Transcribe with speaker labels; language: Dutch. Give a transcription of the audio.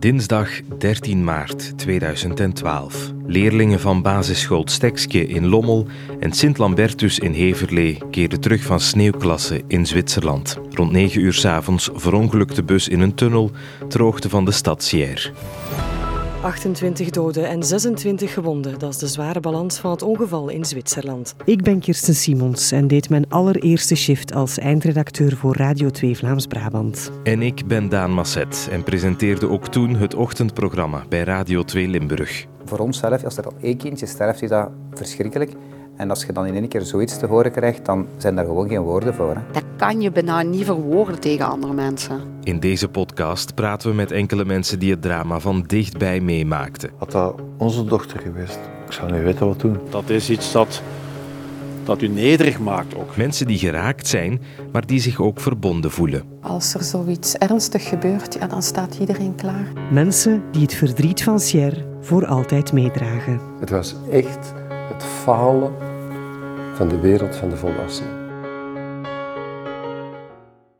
Speaker 1: Dinsdag 13 maart 2012. Leerlingen van basisschool Stekske in Lommel en Sint Lambertus in Heverlee keerden terug van sneeuwklasse in Zwitserland. Rond 9 uur 's avonds verongelukte de bus in een tunnel, droogte van de stad Sierre.
Speaker 2: 28 doden en 26 gewonden. Dat is de zware balans van het ongeval in Zwitserland.
Speaker 3: Ik ben Kirsten Simons en deed mijn allereerste shift als eindredacteur voor Radio 2 Vlaams-Brabant.
Speaker 1: En ik ben Daan Masset en presenteerde ook toen het ochtendprogramma bij Radio 2 Limburg.
Speaker 4: Voor onszelf, als er al één kindje sterft, is dat verschrikkelijk. En als je dan in één keer zoiets te horen krijgt, dan zijn daar gewoon geen woorden voor. Hè.
Speaker 5: Dat kan je bijna niet verwoorden tegen andere mensen.
Speaker 1: In deze podcast praten we met enkele mensen die het drama van dichtbij meemaakten.
Speaker 6: Had dat onze dochter geweest, ik zou niet weten wat doen.
Speaker 7: Dat is iets dat, dat u nederig maakt ook.
Speaker 1: Mensen die geraakt zijn, maar die zich ook verbonden voelen.
Speaker 8: Als er zoiets ernstig gebeurt, ja, dan staat iedereen klaar.
Speaker 3: Mensen die het verdriet van Sierre voor altijd meedragen.
Speaker 9: Het was echt het falen van de wereld van de volwassenen.